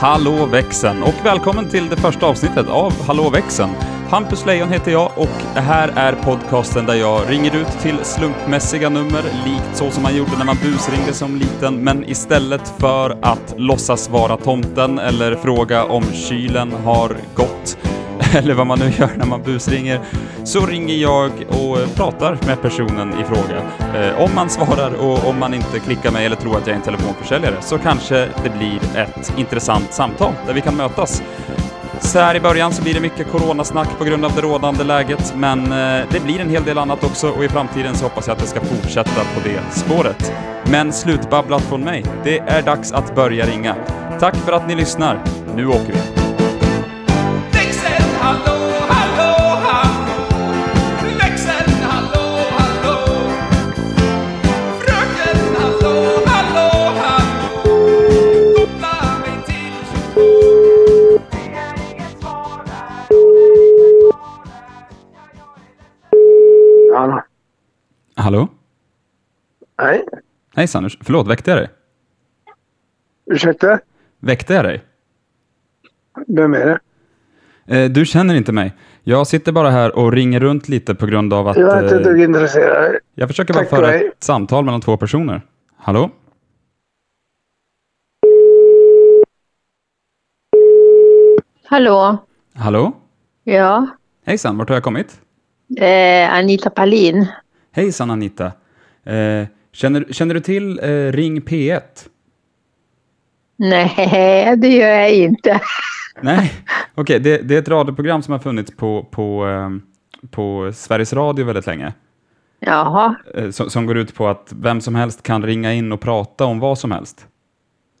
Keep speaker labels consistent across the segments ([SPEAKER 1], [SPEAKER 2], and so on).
[SPEAKER 1] Hallå växeln och välkommen till det första avsnittet av Hallå växeln. Hampus Lejon heter jag och det här är podcasten där jag ringer ut till slumpmässiga nummer, likt så som man gjorde när man busringde som liten, men istället för att låtsas vara tomten eller fråga om kylen har gått, eller vad man nu gör när man busringer, så ringer jag och pratar med personen i fråga. Eh, om man svarar och om man inte klickar mig eller tror att jag är en telefonförsäljare så kanske det blir ett intressant samtal där vi kan mötas. Så här i början så blir det mycket coronasnack på grund av det rådande läget, men eh, det blir en hel del annat också och i framtiden så hoppas jag att det ska fortsätta på det spåret. Men slutbabblat från mig, det är dags att börja ringa. Tack för att ni lyssnar. Nu åker vi.
[SPEAKER 2] Växeln, hallå, hallå, hallå. Växeln, hallå, hallå. Fröken, hallå, hallå, hallå. Koppla mig till 22. Ringer inget svar här, ringer inget svar här. Ja, jag är ledsen.
[SPEAKER 3] Hallå?
[SPEAKER 1] Hallå?
[SPEAKER 3] Nej,
[SPEAKER 1] Hejsan, urs- förlåt, väckte jag dig?
[SPEAKER 3] ursäkta?
[SPEAKER 1] Väckte jag dig?
[SPEAKER 3] Vem är det?
[SPEAKER 1] Eh, du känner inte mig. Jag sitter bara här och ringer runt lite på grund av att...
[SPEAKER 3] Jag är inte ett
[SPEAKER 1] eh,
[SPEAKER 3] dugg intresserad.
[SPEAKER 1] jag försöker bara
[SPEAKER 3] Tack för
[SPEAKER 1] föra
[SPEAKER 3] dig.
[SPEAKER 1] ett samtal mellan två personer. Hallå?
[SPEAKER 4] Hallå,
[SPEAKER 1] Hallå?
[SPEAKER 4] ja.
[SPEAKER 1] Hejsan, vart har jag kommit?
[SPEAKER 4] Eh, Anita Palin.
[SPEAKER 1] Hejsan Anita. Eh, känner, känner du till eh, Ring P1?
[SPEAKER 4] Nej, det gör jag inte.
[SPEAKER 1] Nej, okej. det, det är ett radioprogram som har funnits på, på, ehm, på Sveriges Radio väldigt länge.
[SPEAKER 4] Jaha,
[SPEAKER 1] Eh, som, som går ut på att vem som helst kan ringa in och prata om vad som helst.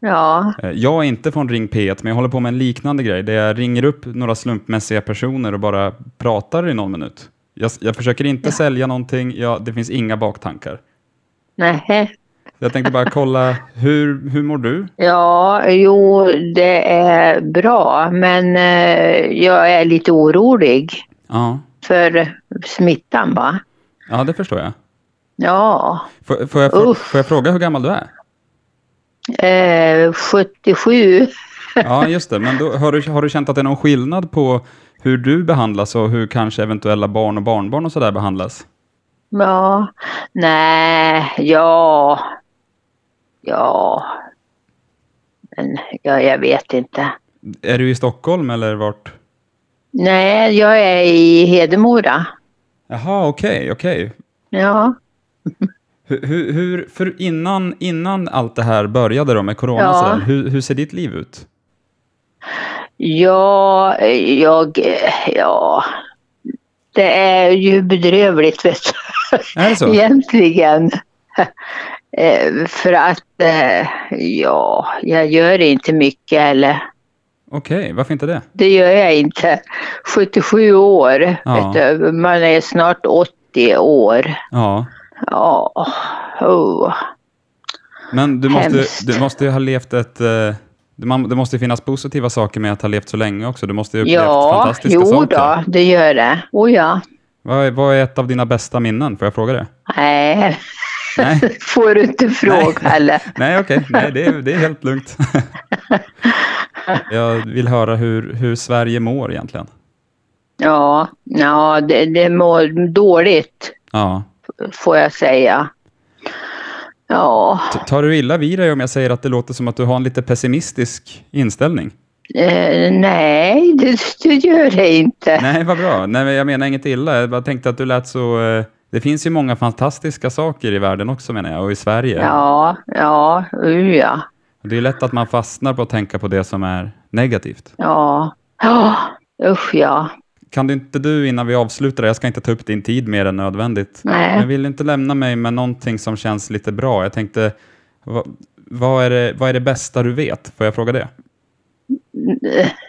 [SPEAKER 4] ja,
[SPEAKER 1] Eh, Jag är inte från Ring P1, men jag håller på med en liknande grej, där jag ringer upp några slumpmässiga personer och bara pratar i någon minut. Jag, jag försöker inte sälja någonting, jag, det finns inga baktankar.
[SPEAKER 4] nej.
[SPEAKER 1] Jag tänkte bara kolla, hur, hur mår du?
[SPEAKER 4] Ja, jo, det är bra, men eh, jag är lite orolig
[SPEAKER 1] Ja,
[SPEAKER 4] för smittan, va?
[SPEAKER 1] ja det förstår jag.
[SPEAKER 4] Ja,
[SPEAKER 1] Får, får, jag frå-
[SPEAKER 4] Uff.
[SPEAKER 1] får jag fråga hur gammal du är?
[SPEAKER 4] eh, 77.
[SPEAKER 1] Ja, just det. Men då, har, du, har du känt att det är någon skillnad på hur du behandlas och hur kanske eventuella barn och barnbarn och sådär behandlas?
[SPEAKER 4] Ja, nej, ja, ja. Men ja, jag vet inte.
[SPEAKER 1] Är du i Stockholm eller vart?
[SPEAKER 4] Nej, jag är i Hedemora.
[SPEAKER 1] Jaha, okej, okej.
[SPEAKER 4] Ja,
[SPEAKER 1] Hur, hur, hur, för innan, innan allt det här började då med corona,
[SPEAKER 4] Ja.
[SPEAKER 1] och sådär, hur, hur ser ditt liv ut?
[SPEAKER 4] ja, jag, ja. Det är ju bedrövligt vet du,
[SPEAKER 1] Är det så?
[SPEAKER 4] egentligen. Eh, För att, eh, ja, jag gör inte mycket eller,
[SPEAKER 1] Okej, varför inte det?
[SPEAKER 4] det gör jag inte. 77 år,
[SPEAKER 1] Ja.
[SPEAKER 4] vet du, man är snart 80 år.
[SPEAKER 1] Ja,
[SPEAKER 4] Ja, oh.
[SPEAKER 1] men du måste,
[SPEAKER 4] Hemskt.
[SPEAKER 1] du måste ju ha levt ett... eh, det- man- Det måste ju finnas positiva saker med att ha levt så länge också. Du måste ju ha upplevt
[SPEAKER 4] ja
[SPEAKER 1] fantastiska
[SPEAKER 4] jo
[SPEAKER 1] saker.
[SPEAKER 4] då, det gör det. Oh ja.
[SPEAKER 1] Vad, är- vad är ett av dina bästa minnen? Får jag fråga det?
[SPEAKER 4] Nej,
[SPEAKER 1] Nej,
[SPEAKER 4] får du inte fråga heller.
[SPEAKER 1] Nej okej. Nej, det, är- det är helt lugnt. jag vill höra hur, hur Sverige mår egentligen.
[SPEAKER 4] Ja, ja det, det mår dåligt
[SPEAKER 1] Ja.
[SPEAKER 4] får jag säga. Ja,
[SPEAKER 1] T- Tar du illa vid dig om jag säger att det låter som att du har en lite pessimistisk inställning?
[SPEAKER 4] eh, nej, det, det gör det inte.
[SPEAKER 1] Nej, vad bra. Nej, men jag menar inget illa. Jag bara tänkte att du lät så... eh, Det finns ju många fantastiska saker i världen också menar jag, och i Sverige.
[SPEAKER 4] Ja, ja, uh, ja.
[SPEAKER 1] Det är ju lätt att man fastnar på att tänka på det som är negativt.
[SPEAKER 4] Ja, oh, usch ja.
[SPEAKER 1] Kan du inte du, innan vi avslutar, jag ska inte ta upp din tid mer än nödvändigt.
[SPEAKER 4] Nej.
[SPEAKER 1] Men vill du inte lämna mig med någonting som känns lite bra? Jag tänkte, vad, vad, är, det, vad är det bästa du vet? Får jag fråga det?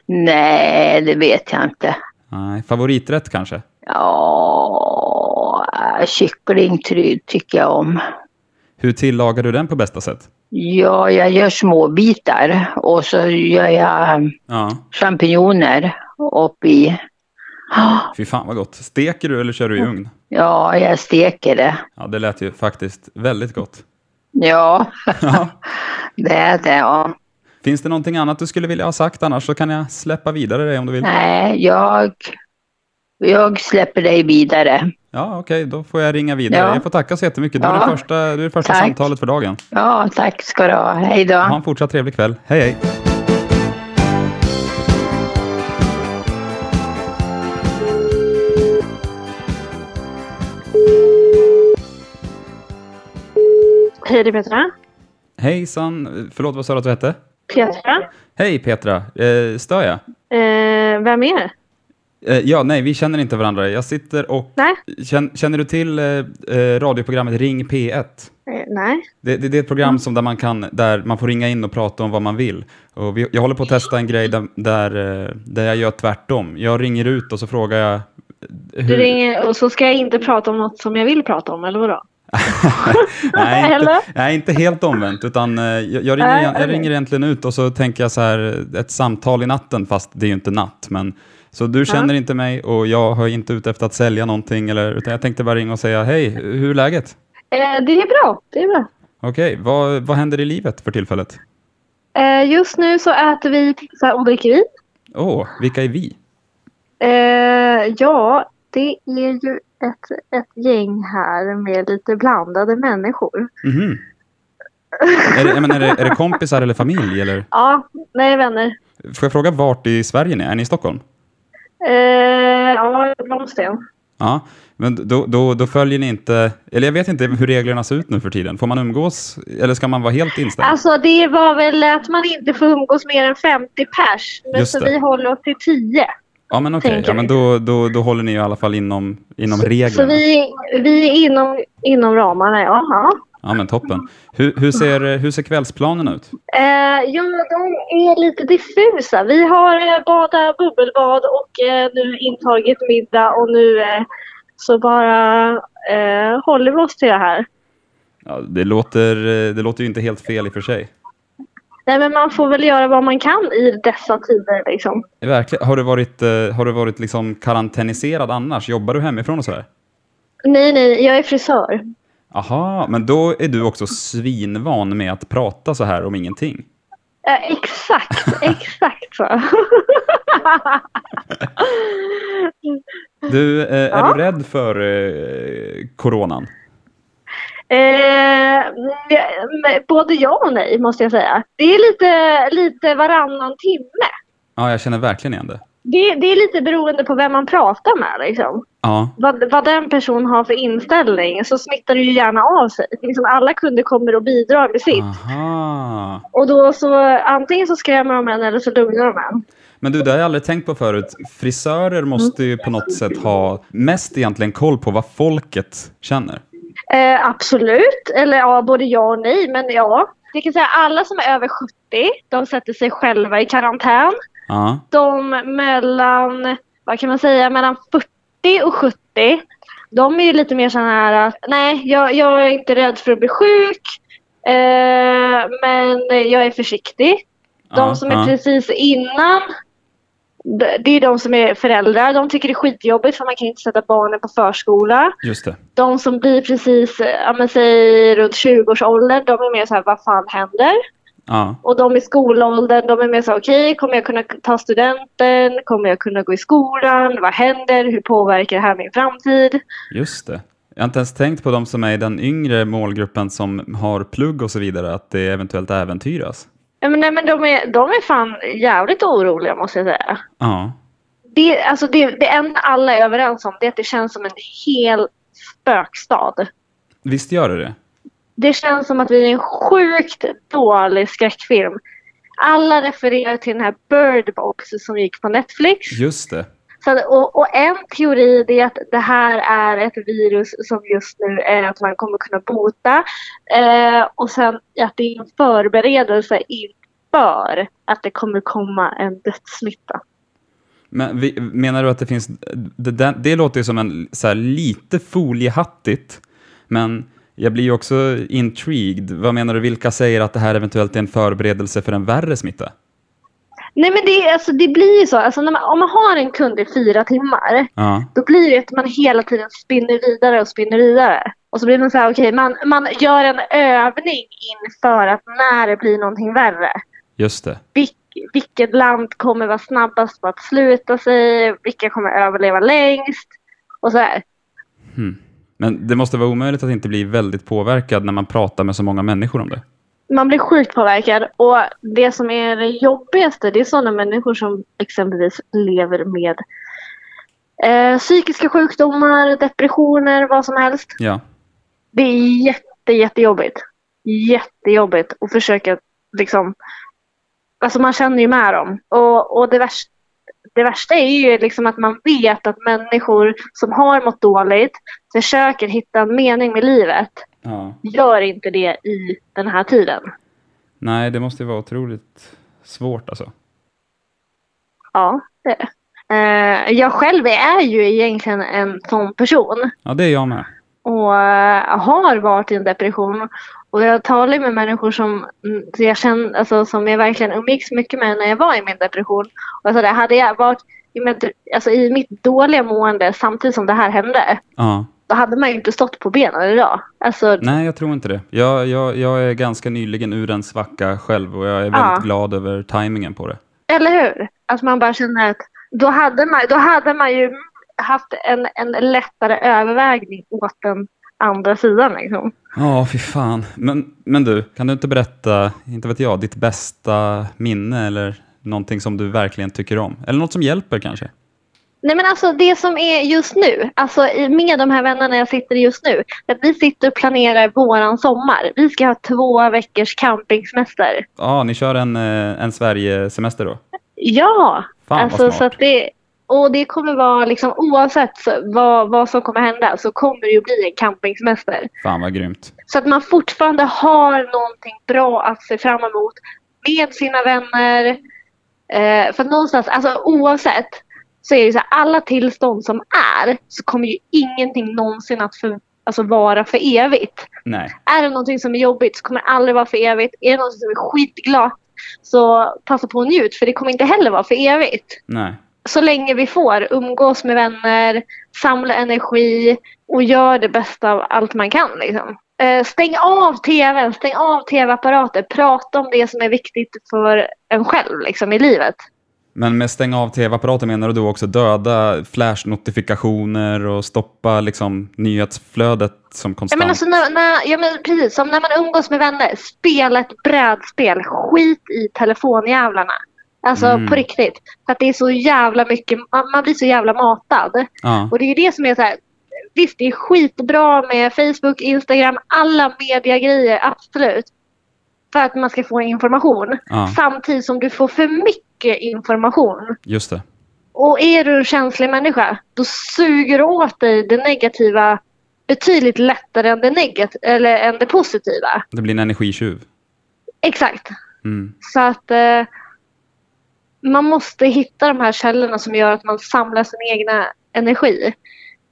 [SPEAKER 4] Nej, det vet jag inte.
[SPEAKER 1] Nej, favoriträtt kanske?
[SPEAKER 4] Ja, kyckling ty- tycker jag om.
[SPEAKER 1] Hur tillagar du den på bästa sätt?
[SPEAKER 4] Ja, jag gör små bitar och så gör jag
[SPEAKER 1] Ja,
[SPEAKER 4] champinjoner upp i. Ja.
[SPEAKER 1] fy fan vad gott. Steker du eller kör
[SPEAKER 4] Oh.
[SPEAKER 1] du i ugn?
[SPEAKER 4] Ja, jag steker det.
[SPEAKER 1] Ja, det lät ju faktiskt väldigt gott.
[SPEAKER 4] Ja,
[SPEAKER 1] Ja,
[SPEAKER 4] det är det. Ja.
[SPEAKER 1] Finns det någonting annat du skulle vilja ha sagt annars så kan jag släppa vidare dig om du vill.
[SPEAKER 4] Nej, jag, jag släpper dig vidare.
[SPEAKER 1] Ja, okej, då får jag ringa vidare.
[SPEAKER 4] Ja.
[SPEAKER 1] Jag får tacka så jättemycket. Du är
[SPEAKER 4] Ja.
[SPEAKER 1] det första, du är det första
[SPEAKER 4] Tack.
[SPEAKER 1] samtalet för dagen.
[SPEAKER 4] Ja, tack ska du ha. Hej då.
[SPEAKER 1] Ha en fortsatt trevlig kväll. Hej, hej.
[SPEAKER 5] Hej, det är Petra.
[SPEAKER 1] Hejsan, förlåt vad sa du att du hette?
[SPEAKER 5] Petra.
[SPEAKER 1] Hej Petra, eh, stör jag?
[SPEAKER 5] Eh, vem är det?
[SPEAKER 1] Eh, ja, nej, vi känner inte varandra. Jag sitter och...
[SPEAKER 5] Nej.
[SPEAKER 1] Känn- Känner du till eh, eh, radioprogrammet Ring P1?
[SPEAKER 5] Eh, nej.
[SPEAKER 1] Det, det, det är ett
[SPEAKER 5] Mm.
[SPEAKER 1] program som där, man kan, där man får ringa in och prata om vad man vill. Och vi, jag håller på att testa en grej där, där, eh, där jag gör tvärtom. Jag ringer ut och så frågar jag... eh,
[SPEAKER 5] Du ringer och så ska jag inte prata om något som jag vill prata om, eller vadå?
[SPEAKER 1] nej, inte,
[SPEAKER 5] Eller?
[SPEAKER 1] nej, inte helt omvänt. Utan, eh, jag, jag, ringer,
[SPEAKER 5] Nej,
[SPEAKER 1] igen- jag
[SPEAKER 5] okej.
[SPEAKER 1] ringer egentligen ut och så tänker jag så här, eh, ett samtal i natten, fast det är ju inte natt. Men, så du känner inte mig och jag har inte ute efter att sälja någonting. Eller, utan jag tänkte bara ringa och säga, hej, hur är läget?
[SPEAKER 5] Eh, det är bra. Det är bra.
[SPEAKER 1] Okej, vad, vad händer i livet för tillfället?
[SPEAKER 5] Eh, just nu så äter vi pizza och dricker vin.
[SPEAKER 1] Åh, vilka är vi?
[SPEAKER 5] Eh, ja, det är ju ett, ett gäng här med lite blandade människor.
[SPEAKER 1] Mhm. är, det, jag menar, är, det, är det kompisar eller familj? Eller?
[SPEAKER 5] Ja, nej vänner.
[SPEAKER 1] Får jag fråga vart i Sverige ni är? Är ni i Stockholm?
[SPEAKER 5] Eh, ja, Blomsten.
[SPEAKER 1] Ja, men då, då, då följer ni inte... Eller jag vet inte hur reglerna ser ut nu för tiden. Får man umgås eller ska man vara helt inställd?
[SPEAKER 5] Alltså det var väl att man inte får umgås mer än 50 pers. Men
[SPEAKER 1] Just
[SPEAKER 5] så
[SPEAKER 1] det.
[SPEAKER 5] vi håller oss till 10.
[SPEAKER 1] ja, men okej.
[SPEAKER 5] tänker
[SPEAKER 1] Ja, men då, då, då håller ni ju i alla fall inom, inom
[SPEAKER 5] Så
[SPEAKER 1] reglerna.
[SPEAKER 5] vi, vi är inom, inom ramarna, ja. ja.
[SPEAKER 1] Ja, men toppen. Hur, hur, ser, hur ser kvällsplanen ut?
[SPEAKER 5] Eh, ja, de är lite diffusa. Vi har eh, badat bubbelbad och eh, nu intagit middag och nu eh, så bara eh, håller vi oss till det här.
[SPEAKER 1] Ja, det, låter, eh, det låter ju inte helt fel i och för sig.
[SPEAKER 5] Nej, men man får väl göra vad man kan i dessa tider liksom.
[SPEAKER 1] Verkligen. Har du varit, eh, har du varit liksom karantäniserad annars? Jobbar du hemifrån och sådär?
[SPEAKER 5] Nej, nej, jag är frisör.
[SPEAKER 1] Aha, men då är du också svinvan med att prata så här om ingenting.
[SPEAKER 5] Eh, exakt, exakt så.
[SPEAKER 1] Du, eh, är
[SPEAKER 5] Ja.
[SPEAKER 1] du rädd för eh, coronan?
[SPEAKER 5] Eh, men både ja och nej, måste jag säga. Det är lite, lite varannan timme.
[SPEAKER 1] Ja, jag känner verkligen igen det.
[SPEAKER 5] Det, det är lite beroende på vem man pratar med. Liksom.
[SPEAKER 1] Ja,
[SPEAKER 5] Vad, vad den personen har för inställning så smittar det ju gärna av sig. Liksom alla kunder kommer och bidrar med
[SPEAKER 1] Ah.
[SPEAKER 5] sitt.
[SPEAKER 1] aha.
[SPEAKER 5] Och då så, antingen så skrämmer de en eller så lugnar de en.
[SPEAKER 1] Men du, det har jag aldrig tänkt på förut. Frisörer måste ju på något sätt ha mest egentligen koll på vad folket känner.
[SPEAKER 5] Eh, absolut, eller ja, både ja och nej. Men ja, jag kan säga alla som är över 70, de sätter sig själva i karantän.
[SPEAKER 1] Ja,
[SPEAKER 5] de mellan, vad kan man säga, mellan 40 och 70. De är ju lite mer sådana här att nej, jag, jag är inte rädd för att bli sjuk. Eh, men jag är försiktig. De
[SPEAKER 1] ja,
[SPEAKER 5] som
[SPEAKER 1] ja.
[SPEAKER 5] är precis innan, d- det är de som är föräldrar. De tycker det är skitjobbigt för man kan inte sätta barnen på förskola.
[SPEAKER 1] Just det.
[SPEAKER 5] De som blir precis, eh, ja men säg runt 20-årsåldern, de är mer så här, vad fan händer?
[SPEAKER 1] Ja,
[SPEAKER 5] Och de i skolåldern, de är mer så här, okej, kommer jag kunna ta studenten? Kommer jag kunna gå i skolan? Vad händer? Hur påverkar det här min framtid?
[SPEAKER 1] just det. Jag har inte ens tänkt på de som är i den yngre målgruppen som har plugg och så vidare, att det eventuellt äventyras.
[SPEAKER 5] Ja, men, nej, men de, är, de är fan jävligt oroliga måste jag säga.
[SPEAKER 1] Ja,
[SPEAKER 5] Det, alltså, det, det enda alla är överens om det är att det känns som en hel spökstad.
[SPEAKER 1] visst gör det det?
[SPEAKER 5] Det känns som att vi är en sjukt dålig skräckfilm. Alla refererar till den här Bird Box som gick på Netflix.
[SPEAKER 1] Just det.
[SPEAKER 5] Så att, och, och en teori det är att det här är ett virus som just nu är att man kommer kunna bota. Eh, och sen att det är en förberedelse inför att det kommer komma en dödssmitta.
[SPEAKER 1] Men vi, menar du att det finns... Det, det, det låter ju som en så här, lite foliehattigt, men jag blir ju också intrigued. Vad menar du, vilka säger att det här eventuellt är en förberedelse för en värre smitta?
[SPEAKER 5] Nej men det, är- alltså, det blir ju så. Alltså, när man, om man har en kund i fyra timmar
[SPEAKER 1] Ja,
[SPEAKER 5] då blir det att man hela tiden spinner vidare och spinner vidare. Och så blir man så här, okej, man, man gör en övning inför att när det blir någonting värre.
[SPEAKER 1] Just det.
[SPEAKER 5] Vilk- vilket land kommer vara snabbast på att sluta sig? Vilka kommer överleva längst? Och så här.
[SPEAKER 1] Men det måste vara omöjligt att inte bli väldigt påverkad när man pratar med så många människor om det.
[SPEAKER 5] Man blir sjukt påverkad och det som är det jobbigaste det är sådana människor som exempelvis lever med eh, psykiska sjukdomar, depressioner, vad som helst.
[SPEAKER 1] Ja.
[SPEAKER 5] Det är jätte, jättejobbigt. Jättejobbigt att försöka liksom... Alltså man känner ju med dem. Och, och det, värsta, det värsta är ju liksom att man vet att människor som har mått dåligt försöker hitta en mening med livet.
[SPEAKER 1] ja.
[SPEAKER 5] Gör inte det i den här tiden.
[SPEAKER 1] Nej, det måste ju vara otroligt svårt alltså.
[SPEAKER 5] Ja, det är det. Eh, jag själv är ju egentligen en sån person.
[SPEAKER 1] Ja, det är jag med.
[SPEAKER 5] och eh, har varit i en depression. Och jag talar ju med människor som, mm, så jag, känner, alltså, som jag verkligen umgicks mycket med när jag var i min depression. Och så där, hade jag varit i, min, alltså, i mitt dåliga mående samtidigt som det här hände,
[SPEAKER 1] Ja.
[SPEAKER 5] då hade man ju inte stått på benen idag. Alltså,
[SPEAKER 1] Nej, jag tror inte det. Jag, jag, jag är ganska nyligen ur en svacka själv och jag är väldigt
[SPEAKER 5] Ja.
[SPEAKER 1] glad över tajmingen på det.
[SPEAKER 5] eller hur? Att man bara känner att då hade man, då hade man ju haft en, en lättare övervägning åt den andra sidan. Liksom.
[SPEAKER 1] Ja, fy fan. Men, men du, kan du inte berätta, inte vet jag, ditt bästa minne eller någonting som du verkligen tycker om? Eller något som hjälper kanske?
[SPEAKER 5] Nej men alltså det som är just nu, alltså i- med de här vännerna jag sitter i just nu. Att vi sitter och planerar våran sommar. Vi ska ha två veckors campingsemester.
[SPEAKER 1] Ja, ni kör en, eh, en Sverige-semester då?
[SPEAKER 5] Ja!
[SPEAKER 1] Fan, vad
[SPEAKER 5] alltså,
[SPEAKER 1] smart.
[SPEAKER 5] så att det, och det kommer vara liksom oavsett så- vad, vad som kommer hända så kommer det ju bli en campingsemester.
[SPEAKER 1] Fan vad grymt.
[SPEAKER 5] Så att man fortfarande har någonting bra att se fram emot med sina vänner. Eh, för att någonstans, alltså oavsett, så är det ju så här, alla tillstånd som är så kommer ju ingenting någonsin att för, alltså vara för evigt.
[SPEAKER 1] Nej.
[SPEAKER 5] Är det någonting som är jobbigt så kommer det aldrig vara för evigt. Är det någonting som är skitglatt så passa på och njut för det kommer inte heller vara för evigt
[SPEAKER 1] Nej.
[SPEAKER 5] så länge vi får umgås med vänner, samla energi och gör det bästa av allt man kan. Liksom. Eh, stäng av tvn, stäng av tv-apparater, prata om det som är viktigt för en själv liksom, i livet.
[SPEAKER 1] Men med stänga av tv-apparater menar du då också döda flashnotifikationer och stoppa liksom nyhetsflödet som
[SPEAKER 5] Jag
[SPEAKER 1] konstant...
[SPEAKER 5] menar, alltså, när, när, jag menar precis, som när man umgås med vänner, spela ett brädspel, skit i telefonjävlarna. Alltså
[SPEAKER 1] Mm.
[SPEAKER 5] på riktigt. För att det är så jävla mycket, man, man blir så jävla matad.
[SPEAKER 1] ja.
[SPEAKER 5] Och det är det som är så här. Visst, det är skitbra med Facebook, Instagram, alla mediegrejer, absolut. För att man ska få information.
[SPEAKER 1] ja,
[SPEAKER 5] Samtidigt som du får för mycket information.
[SPEAKER 1] just det.
[SPEAKER 5] Och är du en känslig människa, då suger du åt dig det negativa betydligt lättare än det, negat- eller än det positiva.
[SPEAKER 1] Det blir en energitjuv.
[SPEAKER 5] Exakt.
[SPEAKER 1] Mm.
[SPEAKER 5] Så att eh, man måste hitta de här källorna som gör att man samlar sin egna energi.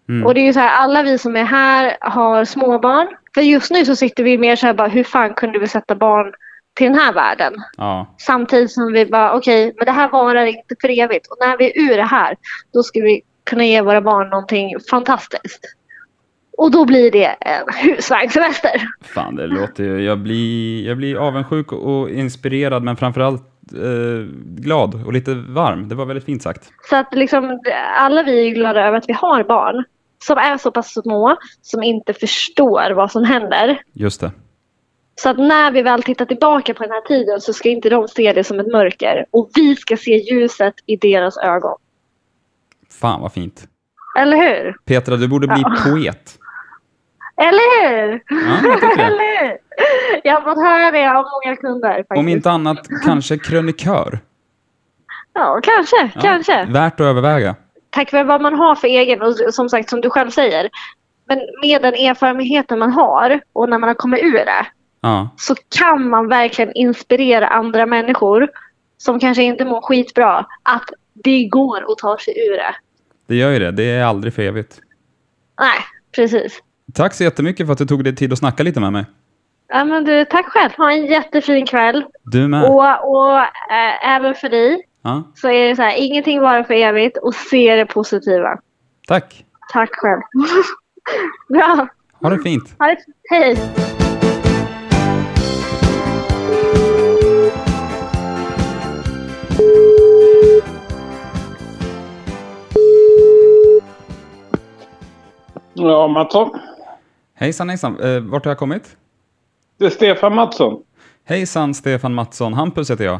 [SPEAKER 1] Mm.
[SPEAKER 5] Och det är ju så här, alla vi som är här har småbarn. För just nu så sitter vi mer så här bara, hur fan kunde vi sätta barn till den här världen?
[SPEAKER 1] Ja,
[SPEAKER 5] Samtidigt som vi bara, okej, men det här varar inte för evigt. Och när vi är ur det här, då ska vi kunna ge våra barn någonting fantastiskt. Och då blir det en husvagnssemester.
[SPEAKER 1] fan det låter ju... Jag blir, jag blir avundsjuk och inspirerad men framförallt eh, glad och lite varm. Det var väldigt fint sagt.
[SPEAKER 5] Så att liksom, alla vi är glada över att vi har barn som är så pass små, som inte förstår vad som händer.
[SPEAKER 1] Just det.
[SPEAKER 5] Så att när vi väl tittar tillbaka på den här tiden så ska inte de se det som ett mörker. Och vi ska se ljuset i deras ögon.
[SPEAKER 1] Fan vad fint.
[SPEAKER 5] Eller hur?
[SPEAKER 1] Petra, du borde bli poet.
[SPEAKER 5] Eller hur?
[SPEAKER 1] Ja, jag tycker det.
[SPEAKER 5] Eller hur? Jag har fått höra det av många kunder faktiskt.
[SPEAKER 1] Om inte annat kanske krönikör.
[SPEAKER 5] Ja, kanske.
[SPEAKER 1] Ja,
[SPEAKER 5] Kanske.
[SPEAKER 1] Värt att överväga.
[SPEAKER 5] Tack vare vad man har för egen och som sagt som du själv säger. Men med den erfarenheten man har och när man har kommit ur det
[SPEAKER 1] Ja,
[SPEAKER 5] så kan man verkligen inspirera andra människor som kanske inte mår skitbra att det går att ta sig ur det.
[SPEAKER 1] det gör ju det. Det är aldrig för evigt.
[SPEAKER 5] Nej, precis.
[SPEAKER 1] Tack så jättemycket för att du tog dig tid att snacka lite med mig.
[SPEAKER 5] Ja, men du, tack själv. Ha en jättefin kväll.
[SPEAKER 1] Du med.
[SPEAKER 5] Och, och eh, även för dig
[SPEAKER 1] Ja,
[SPEAKER 5] så är det så här, ingenting varar för evigt och se det positiva.
[SPEAKER 1] tack.
[SPEAKER 5] Tack själv. Bra.
[SPEAKER 1] Ha det fint.
[SPEAKER 5] Ha det. Hej.
[SPEAKER 6] Ja, Mattsson.
[SPEAKER 1] Hejsan hejsan, eh, vart har jag kommit?
[SPEAKER 6] Det är Stefan Mattsson.
[SPEAKER 1] Hejsan Stefan Mattsson, Hampus heter jag.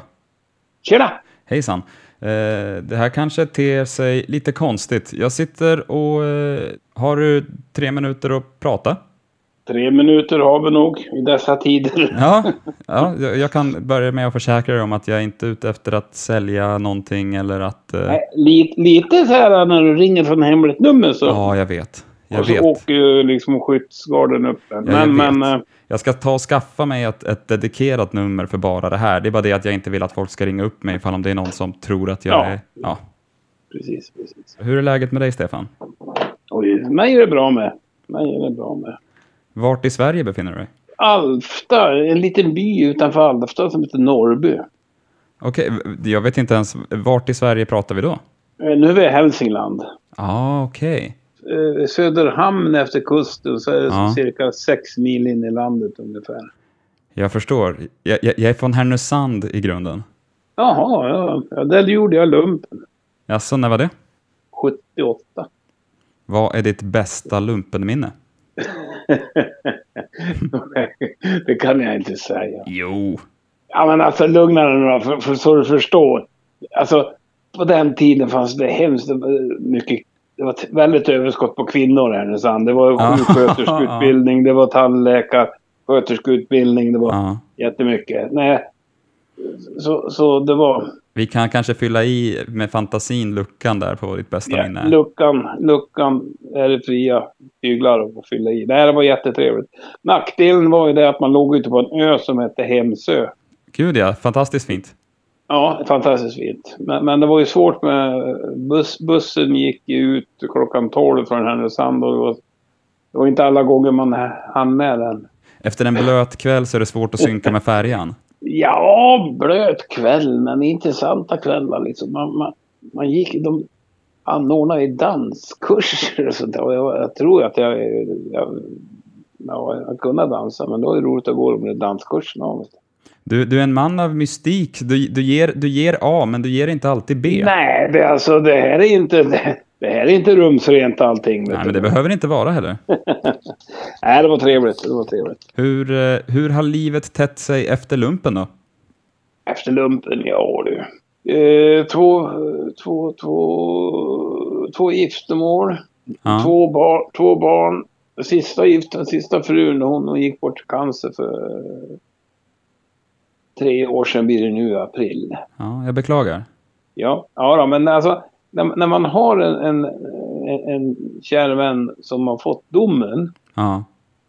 [SPEAKER 6] Tjena!
[SPEAKER 1] Hejsan. Eh, det här kanske ter sig lite konstigt. Jag sitter och... Eh, har du tre minuter att prata?
[SPEAKER 6] Tre minuter har vi nog i dessa tider.
[SPEAKER 1] Ja, ja jag jag kan börja med att försäkra dig om att jag inte är ute efter att sälja någonting eller att... Eh,
[SPEAKER 6] Nej, Lite, lite så här när du ringer från hemligt nummer så,
[SPEAKER 1] ja, jag vet. Jag
[SPEAKER 6] och så
[SPEAKER 1] vet.
[SPEAKER 6] åker ju liksom skyddsgarden upp. Men,
[SPEAKER 1] jag vet.
[SPEAKER 6] men eh,
[SPEAKER 1] Jag ska ta och skaffa mig ett, ett dedikerat nummer för bara det här. Det är bara det att jag inte vill att folk ska ringa upp mig ifall om det är någon som tror att jag
[SPEAKER 6] Ja.
[SPEAKER 1] är... Ja.
[SPEAKER 6] precis, precis.
[SPEAKER 1] Hur är läget med dig, Stefan?
[SPEAKER 6] Oj, mig är det bra med. Mig är det bra med.
[SPEAKER 1] Vart i Sverige befinner du dig?
[SPEAKER 6] Alfta, en liten by utanför Alfta som heter Norrby. Eh,
[SPEAKER 1] Okej, v- jag vet inte ens... Vart i Sverige pratar vi då?
[SPEAKER 6] Eh, Nu är vi i Hälsingland.
[SPEAKER 1] Ja, okej.
[SPEAKER 6] Eh, Söderhamn efter kusten så är det
[SPEAKER 1] Ja.
[SPEAKER 6] cirka sex mil in i landet ungefär.
[SPEAKER 1] Jag förstår. Jag, jag, jag är från Härnösand i grunden.
[SPEAKER 6] Jaha, ja. ja där gjorde jag lumpen.
[SPEAKER 1] Jaså, när var det?
[SPEAKER 6] 78.
[SPEAKER 1] Vad är ditt bästa lumpenminne?
[SPEAKER 6] det kan jag inte säga.
[SPEAKER 1] Jo.
[SPEAKER 6] Ja men alltså lugna dig nu då, för, för, så du förstår. Alltså på den tiden fanns det hemskt mycket. Det var ett väldigt överskott på kvinnor i Härnösand. Det var sjuksköterskeutbildning, det var tandläkarsköterskeutbildning, det var
[SPEAKER 1] Ja.
[SPEAKER 6] jättemycket. Nej, så, så det var
[SPEAKER 1] Vi kan kanske fylla i med fantasin luckan där på ditt bästa
[SPEAKER 6] ja,
[SPEAKER 1] minne.
[SPEAKER 6] luckan, luckan är det fria tyglar att fylla i. Nej, det var jättetrevligt. Nackdelen var ju det att man låg ute på en ö som hette Hemsö.
[SPEAKER 1] Gud ja, fantastiskt fint.
[SPEAKER 6] Ja, fantastiskt fint. Men, men det var ju svårt med buss, bussen gick ju ut klockan 12 från Härnösand och det var, det var inte alla gånger man hann med den.
[SPEAKER 1] Efter en blöt kväll så är det svårt att synka med färjan.
[SPEAKER 6] Ja, blöt kväll men intressanta kvällar liksom. Man, man, man gick, de anordnade ju danskurser och sånt där. Och jag, jag tror att jag, jag, jag, jag kunde dansa men då är det roligt att gå de där danskurserna. om.
[SPEAKER 1] Du, du är en man av mystik. Du, du, ger, du ger A, men du ger inte alltid B.
[SPEAKER 6] Nej, det, alltså, det här är inte, det, det här är inte rumsrent allting. vet
[SPEAKER 1] Nej,
[SPEAKER 6] du.
[SPEAKER 1] men det behöver inte vara heller.
[SPEAKER 6] Nej, det var trevligt. Det var trevligt.
[SPEAKER 1] Hur, eh, hur har livet tätt sig efter lumpen då?
[SPEAKER 6] Efter lumpen, ja du. Eh, två, två, två, två giftermål.
[SPEAKER 1] Ja.
[SPEAKER 6] Två, bar, två barn. Sista giften, sista frun, hon, hon gick bort i cancer för eh, tre år sedan blir det nu i april.
[SPEAKER 1] Ja, jag beklagar.
[SPEAKER 6] Ja, ja då, men alltså när, när man har en, en, en, en kär vän som har fått domen
[SPEAKER 1] Ja.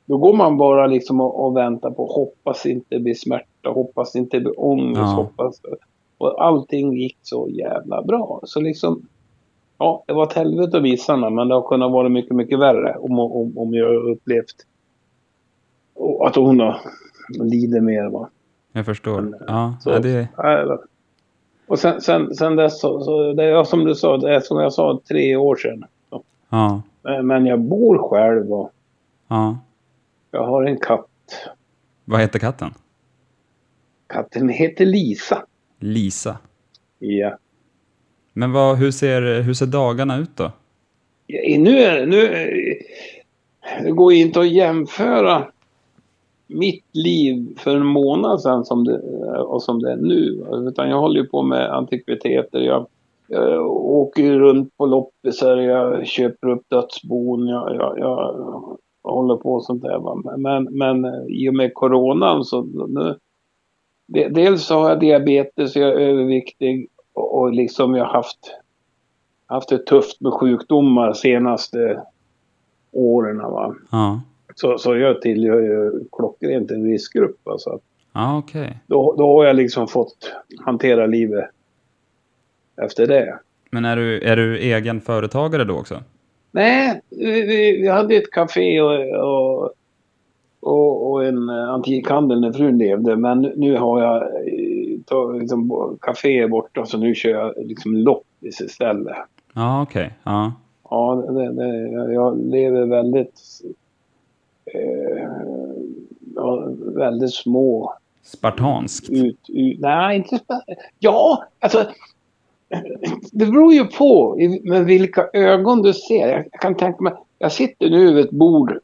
[SPEAKER 6] Då går man bara liksom och, och väntar på hoppas inte det blir smärta, hoppas inte det blir ångest,
[SPEAKER 1] Ja.
[SPEAKER 6] hoppas... Och allting gick så jävla bra. Så liksom... Ja, det var ett helvete visarna, men det har kunnat vara mycket, mycket värre om, om, om jag har upplevt och att hon har lider mer. Va?
[SPEAKER 1] Jag förstår. Ja,
[SPEAKER 6] Så-
[SPEAKER 1] ja det,
[SPEAKER 6] Ja, eller- Och sen, sen, sen dess så, så det är som du sa, det är som jag sa tre år sedan. Eh,
[SPEAKER 1] ja,
[SPEAKER 6] Men jag bor själv och
[SPEAKER 1] ja.
[SPEAKER 6] jag har en katt.
[SPEAKER 1] Vad heter katten?
[SPEAKER 6] Katten heter Lisa.
[SPEAKER 1] Lisa.
[SPEAKER 6] Ja.
[SPEAKER 1] Men vad, hur, ser, hur ser dagarna ut då?
[SPEAKER 6] Ja, Nu är det, nu, eh, det går ju inte att jämföra mitt liv för en månad sedan som det, eh, och som det är nu. Utan jag håller ju på med antikviteter. Jag, jag åker ju runt på loppisar, jag köper upp dödsbon, jag, jag, jag håller på och sånt där. va. Men, men eh, i och med coronan så nu, de- dels så har jag diabetes, jag är överviktig och, och liksom jag har haft haft det tufft med sjukdomar senaste åren. Va?
[SPEAKER 1] Ja,
[SPEAKER 6] Så, så jag tillhör ju klockrent en riskgrupp. Alltså.
[SPEAKER 1] ja okej.
[SPEAKER 6] Då, då har jag liksom fått hantera livet efter det.
[SPEAKER 1] Men är du, är du egen företagare då också?
[SPEAKER 6] Nej, vi, vi, vi hade ett café och, och, och, och en eh, antikhandel när frun levde. Men nu har jag eh, ta- liksom, bo- café är borta så nu kör jag liksom loppis istället.
[SPEAKER 1] Ja, okej. Ja.
[SPEAKER 6] Ja, det, det, jag- jag lever väldigt... Eh, ja, väldigt små
[SPEAKER 1] Spartanskt.
[SPEAKER 6] ut, ut... Nej, inte... spä- Ja, alltså... Det beror ju på i- med vilka ögon du ser. Jag kan tänka mig... Jag sitter nu vid ett bord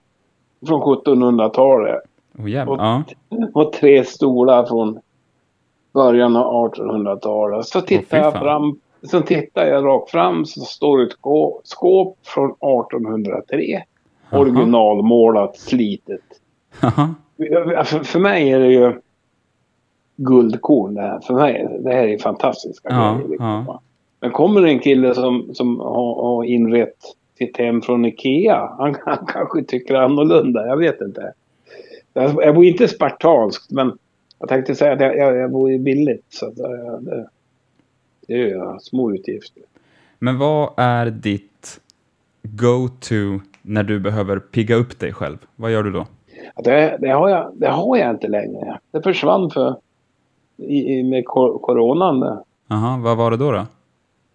[SPEAKER 6] från 1700-talet
[SPEAKER 1] Oh, jävlar. Ja.
[SPEAKER 6] och tre stolar från början av 1800-talet. Så tittar,
[SPEAKER 1] Åh, fy
[SPEAKER 6] jag
[SPEAKER 1] fan.
[SPEAKER 6] fram, så tittar jag rakt fram så står ett gå- skåp från 1803.
[SPEAKER 1] Jaha.
[SPEAKER 6] Originalmålat, slitet.
[SPEAKER 1] Haha.
[SPEAKER 6] Alltså, För, för mig är det ju guldkorn det här. För mig, det här är fantastiska
[SPEAKER 1] Ja,
[SPEAKER 6] grejer. Liksom.
[SPEAKER 1] ja.
[SPEAKER 6] va. Men kommer det en kille som, som har, har inrett sitt hem från Ikea. Han, han kanske tycker annorlunda. Jag vet inte. Jag, jag bor inte spartanskt men jag tänkte säga att jag, jag, jag bor ju billigt. Så att, eh, det, det gör jag. Små utgifter.
[SPEAKER 1] Men vad är ditt go-to när du behöver pigga upp dig själv? Vad gör du då?
[SPEAKER 6] Det, det, har jag, det har jag inte längre. Det försvann för, i, i, med cor- coronan. Där.
[SPEAKER 1] Aha, vad var det då? då?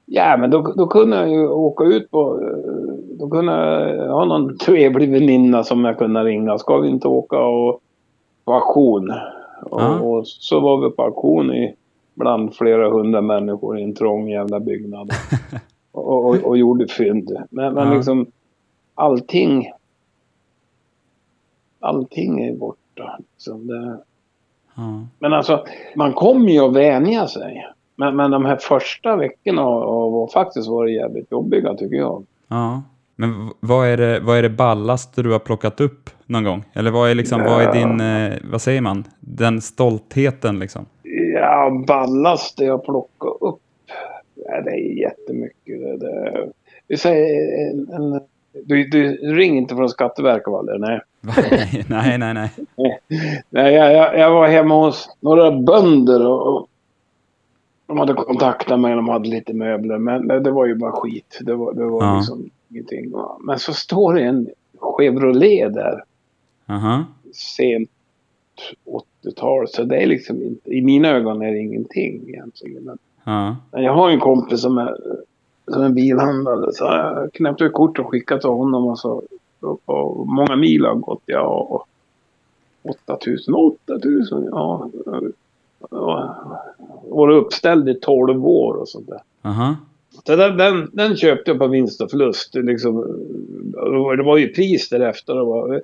[SPEAKER 6] Ja, men då, då kunde jag ju åka ut på... eh, Då kunde jag ha någon trevlig väninna som jag kunde ringa. Ska vi inte åka och på auktion? Och,
[SPEAKER 1] Ja.
[SPEAKER 6] och så var vi på auktion i, bland flera hundra människor i en trång jävla byggnad. och, och, och gjorde fynd. Men, men
[SPEAKER 1] Ja.
[SPEAKER 6] liksom allting... Allting är borta. Liksom det,
[SPEAKER 1] Ja.
[SPEAKER 6] men alltså, man kommer ju att vänja sig. Men, men de här första veckorna har, har faktiskt varit jävligt jobbiga tycker jag.
[SPEAKER 1] ja. Men v- vad är, det, vad är det ballaste du har plockat upp någon gång? Eller vad är, liksom, vad är
[SPEAKER 6] Ja.
[SPEAKER 1] din, eh, vad säger man, den stoltheten liksom?
[SPEAKER 6] Ja, ballast det jag plockar upp. Ja, det är jättemycket. Det, det. Vi säger en, en, du, du ring inte från Skatteverket Valle, nej.
[SPEAKER 1] Va? nej, nej, nej.
[SPEAKER 6] nej jag, jag, jag var hemma hos några bönder och, och de hade kontaktat mig. De hade lite möbler, men det, det var ju bara skit. Det var, det var
[SPEAKER 1] Ja.
[SPEAKER 6] liksom ingenting. va. Men så står det en Chevrolet där.
[SPEAKER 1] Aha.
[SPEAKER 6] sent 80-tal. Så det är liksom inte, i mina ögon är det ingenting egentligen. Men-
[SPEAKER 1] Ja.
[SPEAKER 6] Men jag har en kompis som är, som är bilhandlare. Så jag knäppte ett kort och skickade till honom. Och så, och, och många mil har gått. Ja, och 8000, 8000, ja. Och, och uppställd i 12 år och sånt där.
[SPEAKER 1] Aha.
[SPEAKER 6] Så den, den, den köpte jag på vinst och förlust. Liksom, det var ju pris därefter. Det var, eh,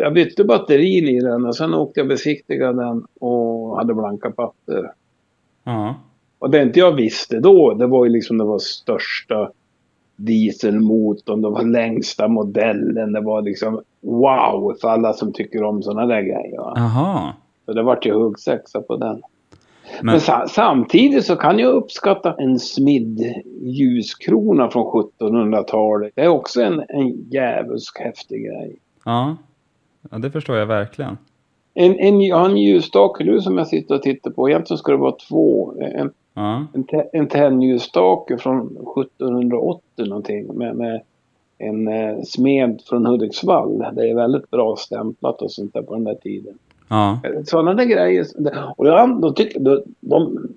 [SPEAKER 6] jag bytte batterin i den och sen åkte jag besiktiga den och hade blanka papper.
[SPEAKER 1] Ja.
[SPEAKER 6] Och det inte jag visste då, det var ju liksom det var största dieselmotorn, det var längsta modellen, det var liksom wow för alla som tycker om sådana där grejer. va.
[SPEAKER 1] Aha.
[SPEAKER 6] Så det vart ju huggsexa på den. Men,
[SPEAKER 1] Men,
[SPEAKER 6] sa, samtidigt så kan jag uppskatta en smidd ljuskrona från 1700-talet. Det är också en, en djävulsk häftig grej.
[SPEAKER 1] ja. ja, det förstår jag verkligen.
[SPEAKER 6] En, en, jag har en ljusstake nu som jag sitter och tittar på. Egentligen ska det vara två. En,
[SPEAKER 1] Ja.
[SPEAKER 6] en, te- en tennljusstake från 1780 någonting med, med en eh, smed från Hudiksvall. Det är väldigt bra stämplat och sånt där på den där tiden.
[SPEAKER 1] Ja.
[SPEAKER 6] Sådana där grejer. Och då, då tycker då, de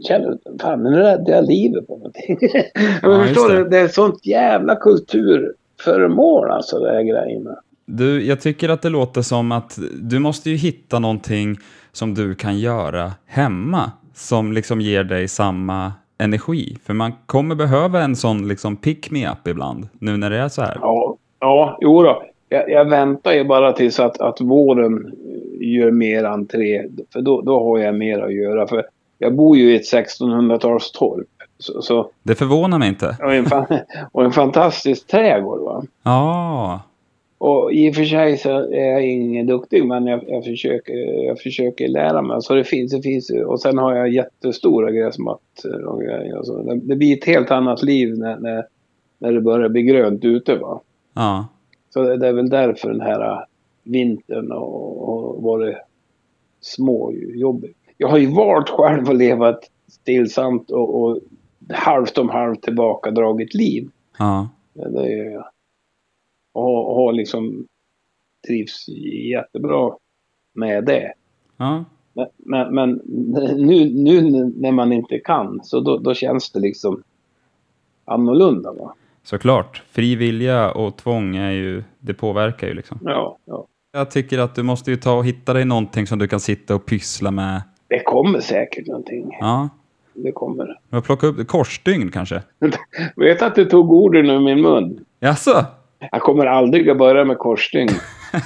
[SPEAKER 6] känner, fan nu räddade jag livet på någonting. Men
[SPEAKER 1] Ja,
[SPEAKER 6] förstår
[SPEAKER 1] just det.
[SPEAKER 6] du, det är sånt jävla kulturföremål alltså de här grejerna.
[SPEAKER 1] Du, jag tycker att det låter som att du måste ju hitta någonting som du kan göra hemma som liksom ger dig samma energi. För man kommer behöva en sån liksom pick-me-up ibland nu när det är så här.
[SPEAKER 6] Ja, ja jo då. Jag, jag väntar ju bara tills att, att våren eh, gör mer entré. För då, då har jag mer att göra. För jag bor ju i ett 1600-talstorp. Så, så,
[SPEAKER 1] Det förvånar mig inte.
[SPEAKER 6] och, en fan, och en fantastisk trädgård. Va?
[SPEAKER 1] Ja,
[SPEAKER 6] Och i och för sig så är jag ingen duktig men jag, jag, försöker, jag försöker lära mig. Så det finns, det finns. ju. Och sen har jag jättestora gräsmattor och grejer. och så. Det, det blir ett helt annat liv när, när, när det börjar bli grönt ute. Va?
[SPEAKER 1] ja,
[SPEAKER 6] Så det, det är väl därför den här äh, vintern och, och varit småjobbig. Jag har ju valt själv att leva ett stillsamt och, och halvt om halvt tillbakadraget liv.
[SPEAKER 1] ja.
[SPEAKER 6] Ja, det gör jag. Och har- har liksom trivs jättebra med det.
[SPEAKER 1] ja.
[SPEAKER 6] Men- Men, men nu, nu när man inte kan så då, då känns det liksom annorlunda. Va?
[SPEAKER 1] Såklart, fri vilja och tvång är ju, det påverkar ju liksom.
[SPEAKER 6] Ja, ja.
[SPEAKER 1] Jag tycker att du måste ju ta och hitta dig någonting som du kan sitta och pyssla med.
[SPEAKER 6] Det kommer säkert någonting.
[SPEAKER 1] Ja,
[SPEAKER 6] Det kommer.
[SPEAKER 1] men plocka upp korsstygn kanske.
[SPEAKER 6] Vet att du tog orden ur min mun?
[SPEAKER 1] Jaså?
[SPEAKER 6] Jag kommer aldrig att börja med korsstygn.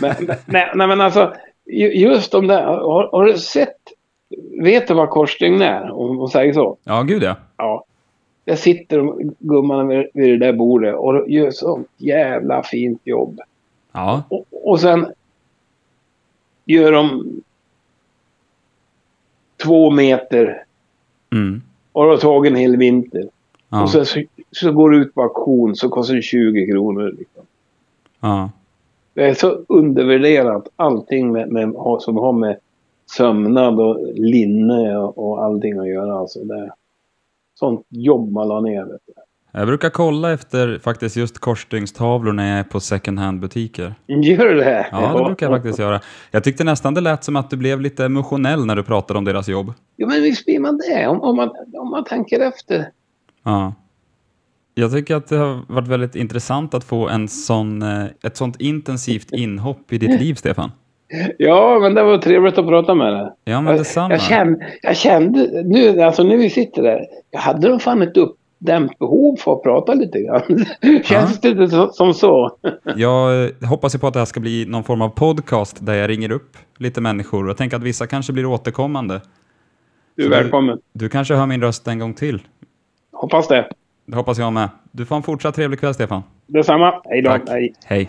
[SPEAKER 6] Men, men- nej, nej, men alltså, ju- just de där, har, har du sett, vet du vad korsstygn är? Om man säger så.
[SPEAKER 1] Ja, gud ja.
[SPEAKER 6] Ja. Där sitter de gummarna vid, vid det där bordet och de gör sånt jävla fint jobb.
[SPEAKER 1] Ja,
[SPEAKER 6] Och, och sen gör de två meter
[SPEAKER 1] mm.
[SPEAKER 6] och har tagit en hel vinter.
[SPEAKER 1] ja.
[SPEAKER 6] Och sen så, så går det ut på auktion så kostar det 20 kronor. Liksom.
[SPEAKER 1] ja.
[SPEAKER 6] Det är så undervärderat allting med, med, har- som har med sömnad och linne och, och allting att göra. Alltså det, sånt jobb man la ner. Vet du.
[SPEAKER 1] Jag brukar kolla efter faktiskt just korsstygnstavlor när jag är på second hand-butiker.
[SPEAKER 6] Gör du det?
[SPEAKER 1] Ja, det brukar jag faktiskt göra. Jag tyckte nästan det lät som att du blev lite emotionell när du pratade om deras jobb.
[SPEAKER 6] Jo, men visst blir man det om, om, man, om man tänker efter.
[SPEAKER 1] Ja. Jag tycker att det har varit väldigt intressant att få en sån, eh, ett sånt intensivt inhopp i ditt liv, Stefan.
[SPEAKER 6] Ja, men det var trevligt att prata med dig.
[SPEAKER 1] Ja, men
[SPEAKER 6] Jag,
[SPEAKER 1] detsamma.
[SPEAKER 6] jag, kände, jag kände, nu alltså när vi sitter där, jag hade nog fan ett uppdämt behov för att prata lite grann. Känns det inte så, som så?
[SPEAKER 1] Jag eh, hoppas ju på att det här ska bli någon form av podcast där jag ringer upp lite människor. Jag tänker att vissa kanske blir återkommande.
[SPEAKER 6] Du är
[SPEAKER 1] Så det-
[SPEAKER 6] välkommen.
[SPEAKER 1] Du kanske hör min röst en gång till.
[SPEAKER 6] Hoppas det.
[SPEAKER 1] Det hoppas jag med. Du får en fortsatt trevlig kväll, Stefan.
[SPEAKER 6] Detsamma. Hej då.
[SPEAKER 1] Tack.
[SPEAKER 6] Hej.
[SPEAKER 1] Hej.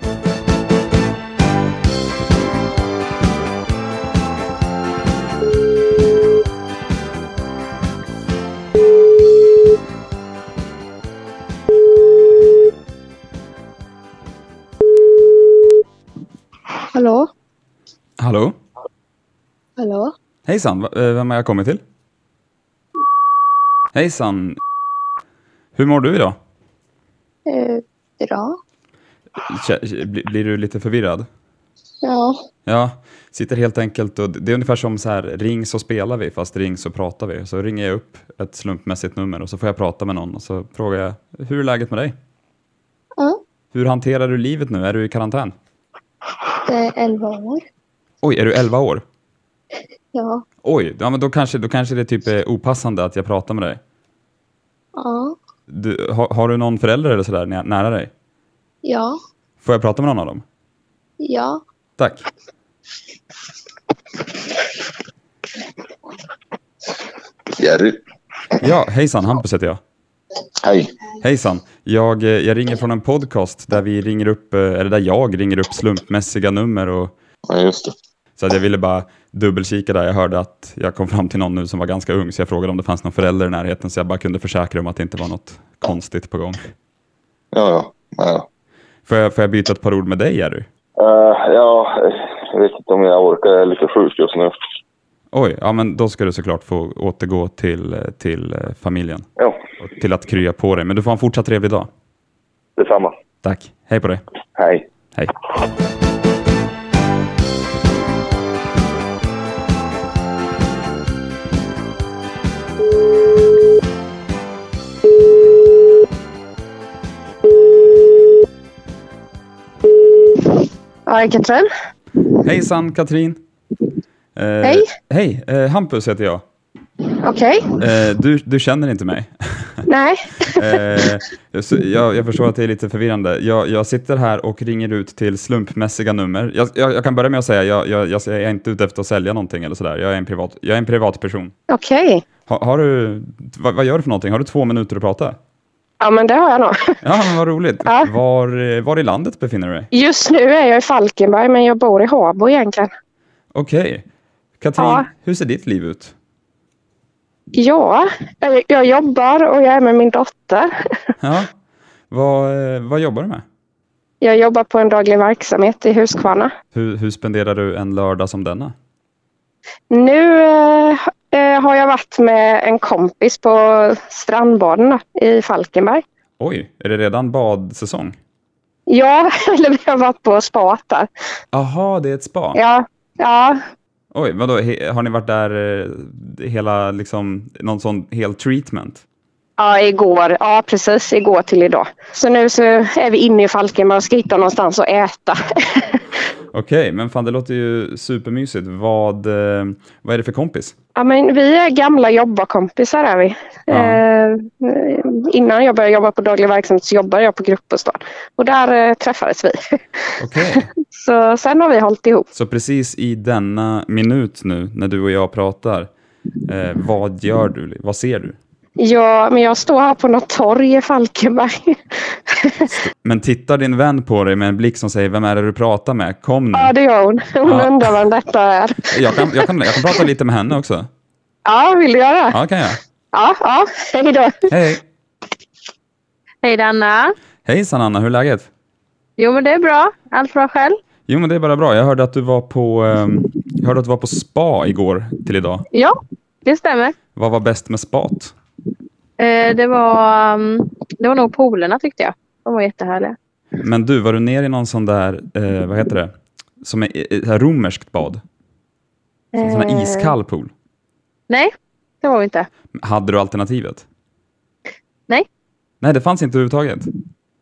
[SPEAKER 7] Hallå?
[SPEAKER 1] Hallå?
[SPEAKER 7] Hallå?
[SPEAKER 1] Hejsan, v- eh, vem har jag kommit till? Hejsan. Hur mår du idag?
[SPEAKER 7] Eh, bra.
[SPEAKER 1] Kä- kä- bli- Blir du lite förvirrad?
[SPEAKER 7] Ja.
[SPEAKER 1] Ja, sitter helt enkelt och det är ungefär som så här, ring så spelar vi, fast ring så pratar vi. Så ringer jag upp ett slumpmässigt nummer och så får jag prata med någon och så frågar jag, hur är läget med dig?
[SPEAKER 7] Ja.
[SPEAKER 1] Hur hanterar du livet nu? Är du i karantän?
[SPEAKER 7] Det är 11 år.
[SPEAKER 1] Oj, är du 11 år?
[SPEAKER 7] Ja.
[SPEAKER 1] Oj, ja, men då, kanske, då kanske det typ är opassande att jag pratar med dig.
[SPEAKER 7] Ja.
[SPEAKER 1] Du, har, har du någon förälder eller sådär nä- nära dig?
[SPEAKER 7] Ja.
[SPEAKER 1] Får jag prata med någon av dem?
[SPEAKER 7] Ja.
[SPEAKER 1] Tack.
[SPEAKER 8] Jerry.
[SPEAKER 1] Ja, hejsan, Hampus heter jag.
[SPEAKER 8] Hej.
[SPEAKER 1] Hejsan, jag, eh, jag ringer från en podcast där vi ringer upp, eh, eller där jag ringer upp slumpmässiga nummer och
[SPEAKER 8] Ja, just det.
[SPEAKER 1] Så att jag ville bara dubbelkika där. Jag hörde att jag kom fram till någon nu som var ganska ung, så jag frågade om det fanns någon förälder i närheten, så jag bara kunde försäkra dem att det inte var något konstigt på gång.
[SPEAKER 8] Ja, ja. Ja,
[SPEAKER 1] Får jag, får jag byta ett par ord med dig, Jerry?
[SPEAKER 8] Eh, ja jag vet inte om jag orkar. Jag är lite sjuk just nu.
[SPEAKER 1] Oj, ja men då ska du såklart få återgå till, eh, till eh, familjen
[SPEAKER 8] Ja,
[SPEAKER 1] och till att krya på dig. Men du får ha en fortsatt trevlig dag.
[SPEAKER 8] detsamma.
[SPEAKER 1] Tack. Hej på dig.
[SPEAKER 8] Hej.
[SPEAKER 1] Hej.
[SPEAKER 7] Ja, Katrin.
[SPEAKER 1] Hejsan, Katrin. Eh,
[SPEAKER 7] Hej.
[SPEAKER 1] Hej, eh, Hampus heter jag.
[SPEAKER 7] Okej.
[SPEAKER 1] Eh, du, du känner inte mig.
[SPEAKER 7] Nej.
[SPEAKER 1] Eh, så jag, jag förstår att det är lite förvirrande. Jag, jag sitter här och ringer ut till slumpmässiga nummer. Jag, jag, jag kan börja med att säga, jag, jag, jag, jag är inte ute efter att sälja någonting eller sådär. Jag är en privat, jag är en privatperson.
[SPEAKER 7] Okej.
[SPEAKER 1] Ha, har du, vad, vad gör du för någonting? Har du två minuter att prata?
[SPEAKER 7] Ja, men det har jag nog.
[SPEAKER 1] Ja, men vad roligt.
[SPEAKER 7] Ja.
[SPEAKER 1] Var, eh, var i landet befinner du dig?
[SPEAKER 7] Just nu är jag i Falkenberg, men jag bor i Habo egentligen.
[SPEAKER 1] Okej. Katrin,
[SPEAKER 7] Ja.
[SPEAKER 1] hur ser ditt liv ut?
[SPEAKER 7] Ja, jag- jag jobbar och jag är med min dotter.
[SPEAKER 1] Ja. Vad, eh, vad jobbar du med?
[SPEAKER 7] Jag jobbar på en daglig verksamhet i Huskvarna.
[SPEAKER 1] Hur, hur spenderar du en lördag som denna?
[SPEAKER 7] Nu eh, eh, har jag varit med en kompis på strandbaden då, i Falkenberg.
[SPEAKER 1] Oj, är det redan badsäsong?
[SPEAKER 7] Ja, eller vi har varit på spat där.
[SPEAKER 1] Aha, det är ett spa.
[SPEAKER 7] Ja, ja,
[SPEAKER 1] Oj, vadå, he, har ni varit där eh, hela, liksom, någon sån hel treatment?
[SPEAKER 7] Ja, igår. Ja, precis. Igår till idag. Så nu så är vi inne i Falkenberg och ska hitta någonstans att äta.
[SPEAKER 1] Okej, men fan det låter ju supermysigt. Vad, eh, vad är det för kompis?
[SPEAKER 7] Ja, men vi är gamla jobbarkompisar är vi.
[SPEAKER 1] Ja.
[SPEAKER 7] Eh, innan jag började jobba på daglig verksamhet så jobbade jag på gruppbostad. Och där eh, träffades vi.
[SPEAKER 1] Okej.
[SPEAKER 7] så sen har vi hållit ihop.
[SPEAKER 1] Så precis i denna minut nu, när du och jag pratar, eh, vad gör du? Vad ser du?
[SPEAKER 7] Ja, men jag står här på något torg i Falkenberg.
[SPEAKER 1] Men tittar din vän på dig med en blick som säger vem är det du pratar med? Kom nu.
[SPEAKER 7] ja, det gör hon. Hon
[SPEAKER 1] Ja.
[SPEAKER 7] undrar vem detta är.
[SPEAKER 1] Jag kan, jag, kan, jag kan prata lite med henne också.
[SPEAKER 7] Ja, vill du göra?
[SPEAKER 1] Ja, kan jag.
[SPEAKER 7] Ja, ja. Hej då.
[SPEAKER 1] Hej!
[SPEAKER 5] Hej Danna.
[SPEAKER 1] Hejsan Anna, hur är läget?
[SPEAKER 5] Jo men det är bra. Allt bra själv?
[SPEAKER 1] Jo men det är bara bra. Jag hörde att du var på, ehm, jag hörde att du var på spa igår till idag.
[SPEAKER 5] Ja, det stämmer.
[SPEAKER 1] Vad var bäst med spat?
[SPEAKER 5] Eh, det, var, mm, det var nog polerna tyckte jag. De var jättehärliga.
[SPEAKER 1] Men du, var du ner i någon sån där, eh, vad heter det, som är eh, så här romerskt bad? En sån här
[SPEAKER 5] Eh,
[SPEAKER 1] iskall pool.
[SPEAKER 5] Nej, det var vi inte.
[SPEAKER 1] Hade du alternativet?
[SPEAKER 5] Nej.
[SPEAKER 1] Nej, det fanns inte överhuvudtaget.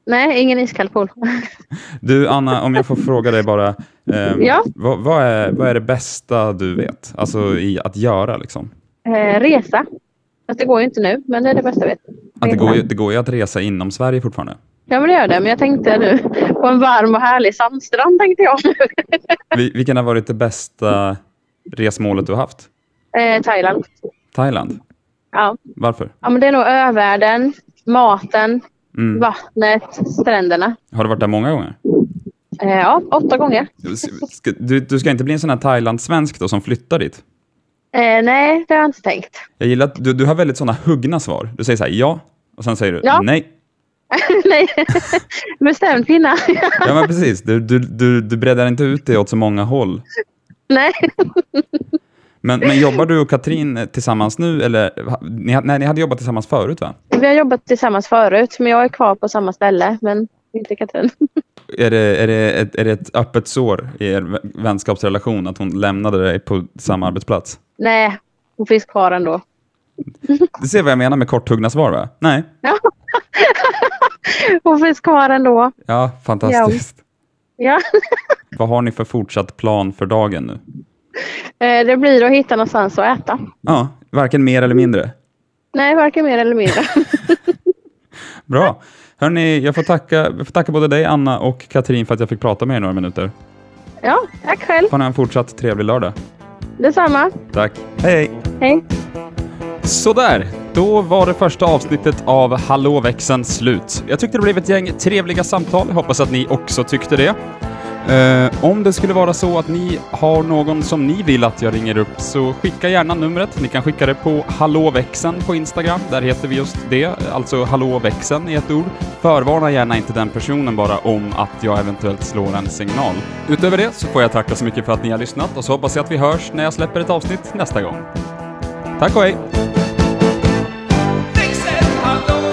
[SPEAKER 5] Nej, ingen iskall pool.
[SPEAKER 1] Du Anna, om jag får fråga dig bara, ehm,
[SPEAKER 5] Ja.
[SPEAKER 1] vad, vad, är, vad är det bästa du vet? Alltså i att göra liksom?
[SPEAKER 5] Eh, resa. Fast det går ju inte nu, men det är det bästa jag vet.
[SPEAKER 1] Att det, går ju, det går ju att resa inom Sverige fortfarande.
[SPEAKER 5] Ja, men det gör det. Men jag tänkte nu på en varm och härlig sandstrand tänkte jag nu.
[SPEAKER 1] Vi, vilken har varit det bästa resmålet du har haft?
[SPEAKER 5] Eh, Thailand.
[SPEAKER 1] Thailand?
[SPEAKER 5] Ja.
[SPEAKER 1] Varför?
[SPEAKER 5] ja, men det är nog övärlden, maten,
[SPEAKER 1] Mm.
[SPEAKER 5] vattnet, stränderna.
[SPEAKER 1] Har du varit där många gånger?
[SPEAKER 5] Eh, ja, åtta gånger.
[SPEAKER 1] Ska- Du, du ska inte bli en sån här Thailand-svensk då som flyttar dit?
[SPEAKER 5] Eh, nej, det har jag inte tänkt.
[SPEAKER 1] Jag gillar att du, du har väldigt såna huggna svar. Du säger så här ja, och sen säger du
[SPEAKER 5] Ja.
[SPEAKER 1] nej.
[SPEAKER 5] nej, bestämd kvinna.
[SPEAKER 1] Ja men precis, du, du, du, du breddar inte ut det åt så många håll.
[SPEAKER 5] nej,
[SPEAKER 1] Men, men jobbar du och Katrin eh, tillsammans nu eller? ha- Ni, ha- nej, ni hade jobbat tillsammans förut va?
[SPEAKER 5] vi har jobbat tillsammans förut, men jag är kvar på samma ställe. Men inte Katrin.
[SPEAKER 1] Är det, är det, ett, är det ett öppet sår i er vä- vänskapsrelation att hon lämnade dig på samma arbetsplats?
[SPEAKER 5] Nej, hon finns kvar ändå.
[SPEAKER 1] Du ser vad jag menar med korthuggna svar va? Nej.
[SPEAKER 5] Hon finns kvar ändå.
[SPEAKER 1] Ja, fantastiskt.
[SPEAKER 5] Ja.
[SPEAKER 1] Vad har ni för fortsatt plan för dagen nu?
[SPEAKER 5] Eh, det blir att hitta någonstans att äta.
[SPEAKER 1] Ja, varken mer eller mindre.
[SPEAKER 5] Nej, varken mer eller mindre.
[SPEAKER 1] Bra. Hörni, jag får tacka, jag får tacka både dig, Anna och Katrin för att jag fick prata med er några minuter.
[SPEAKER 5] ja, tack själv.
[SPEAKER 1] Får ni ha en fortsatt trevlig lördag.
[SPEAKER 5] Detsamma.
[SPEAKER 1] Tack. Hej, hej.
[SPEAKER 5] Hej.
[SPEAKER 1] Sådär, då var det första avsnittet av Hallå växeln slut. Jag tyckte det blev ett gäng trevliga samtal, Jag hoppas att ni också tyckte det. Eh, om det skulle vara så att ni har någon som ni vill att jag ringer upp så skicka gärna numret. Ni kan skicka det på hallåväxeln på Instagram, där heter vi just det, alltså hallåväxeln i ett ord. Förvarna gärna inte den personen bara om att jag eventuellt slår en signal. Utöver det så får jag tacka så mycket för att ni har lyssnat och så hoppas jag att vi hörs när jag släpper ett avsnitt nästa gång. Tack och hej!
[SPEAKER 2] Växeln, hallå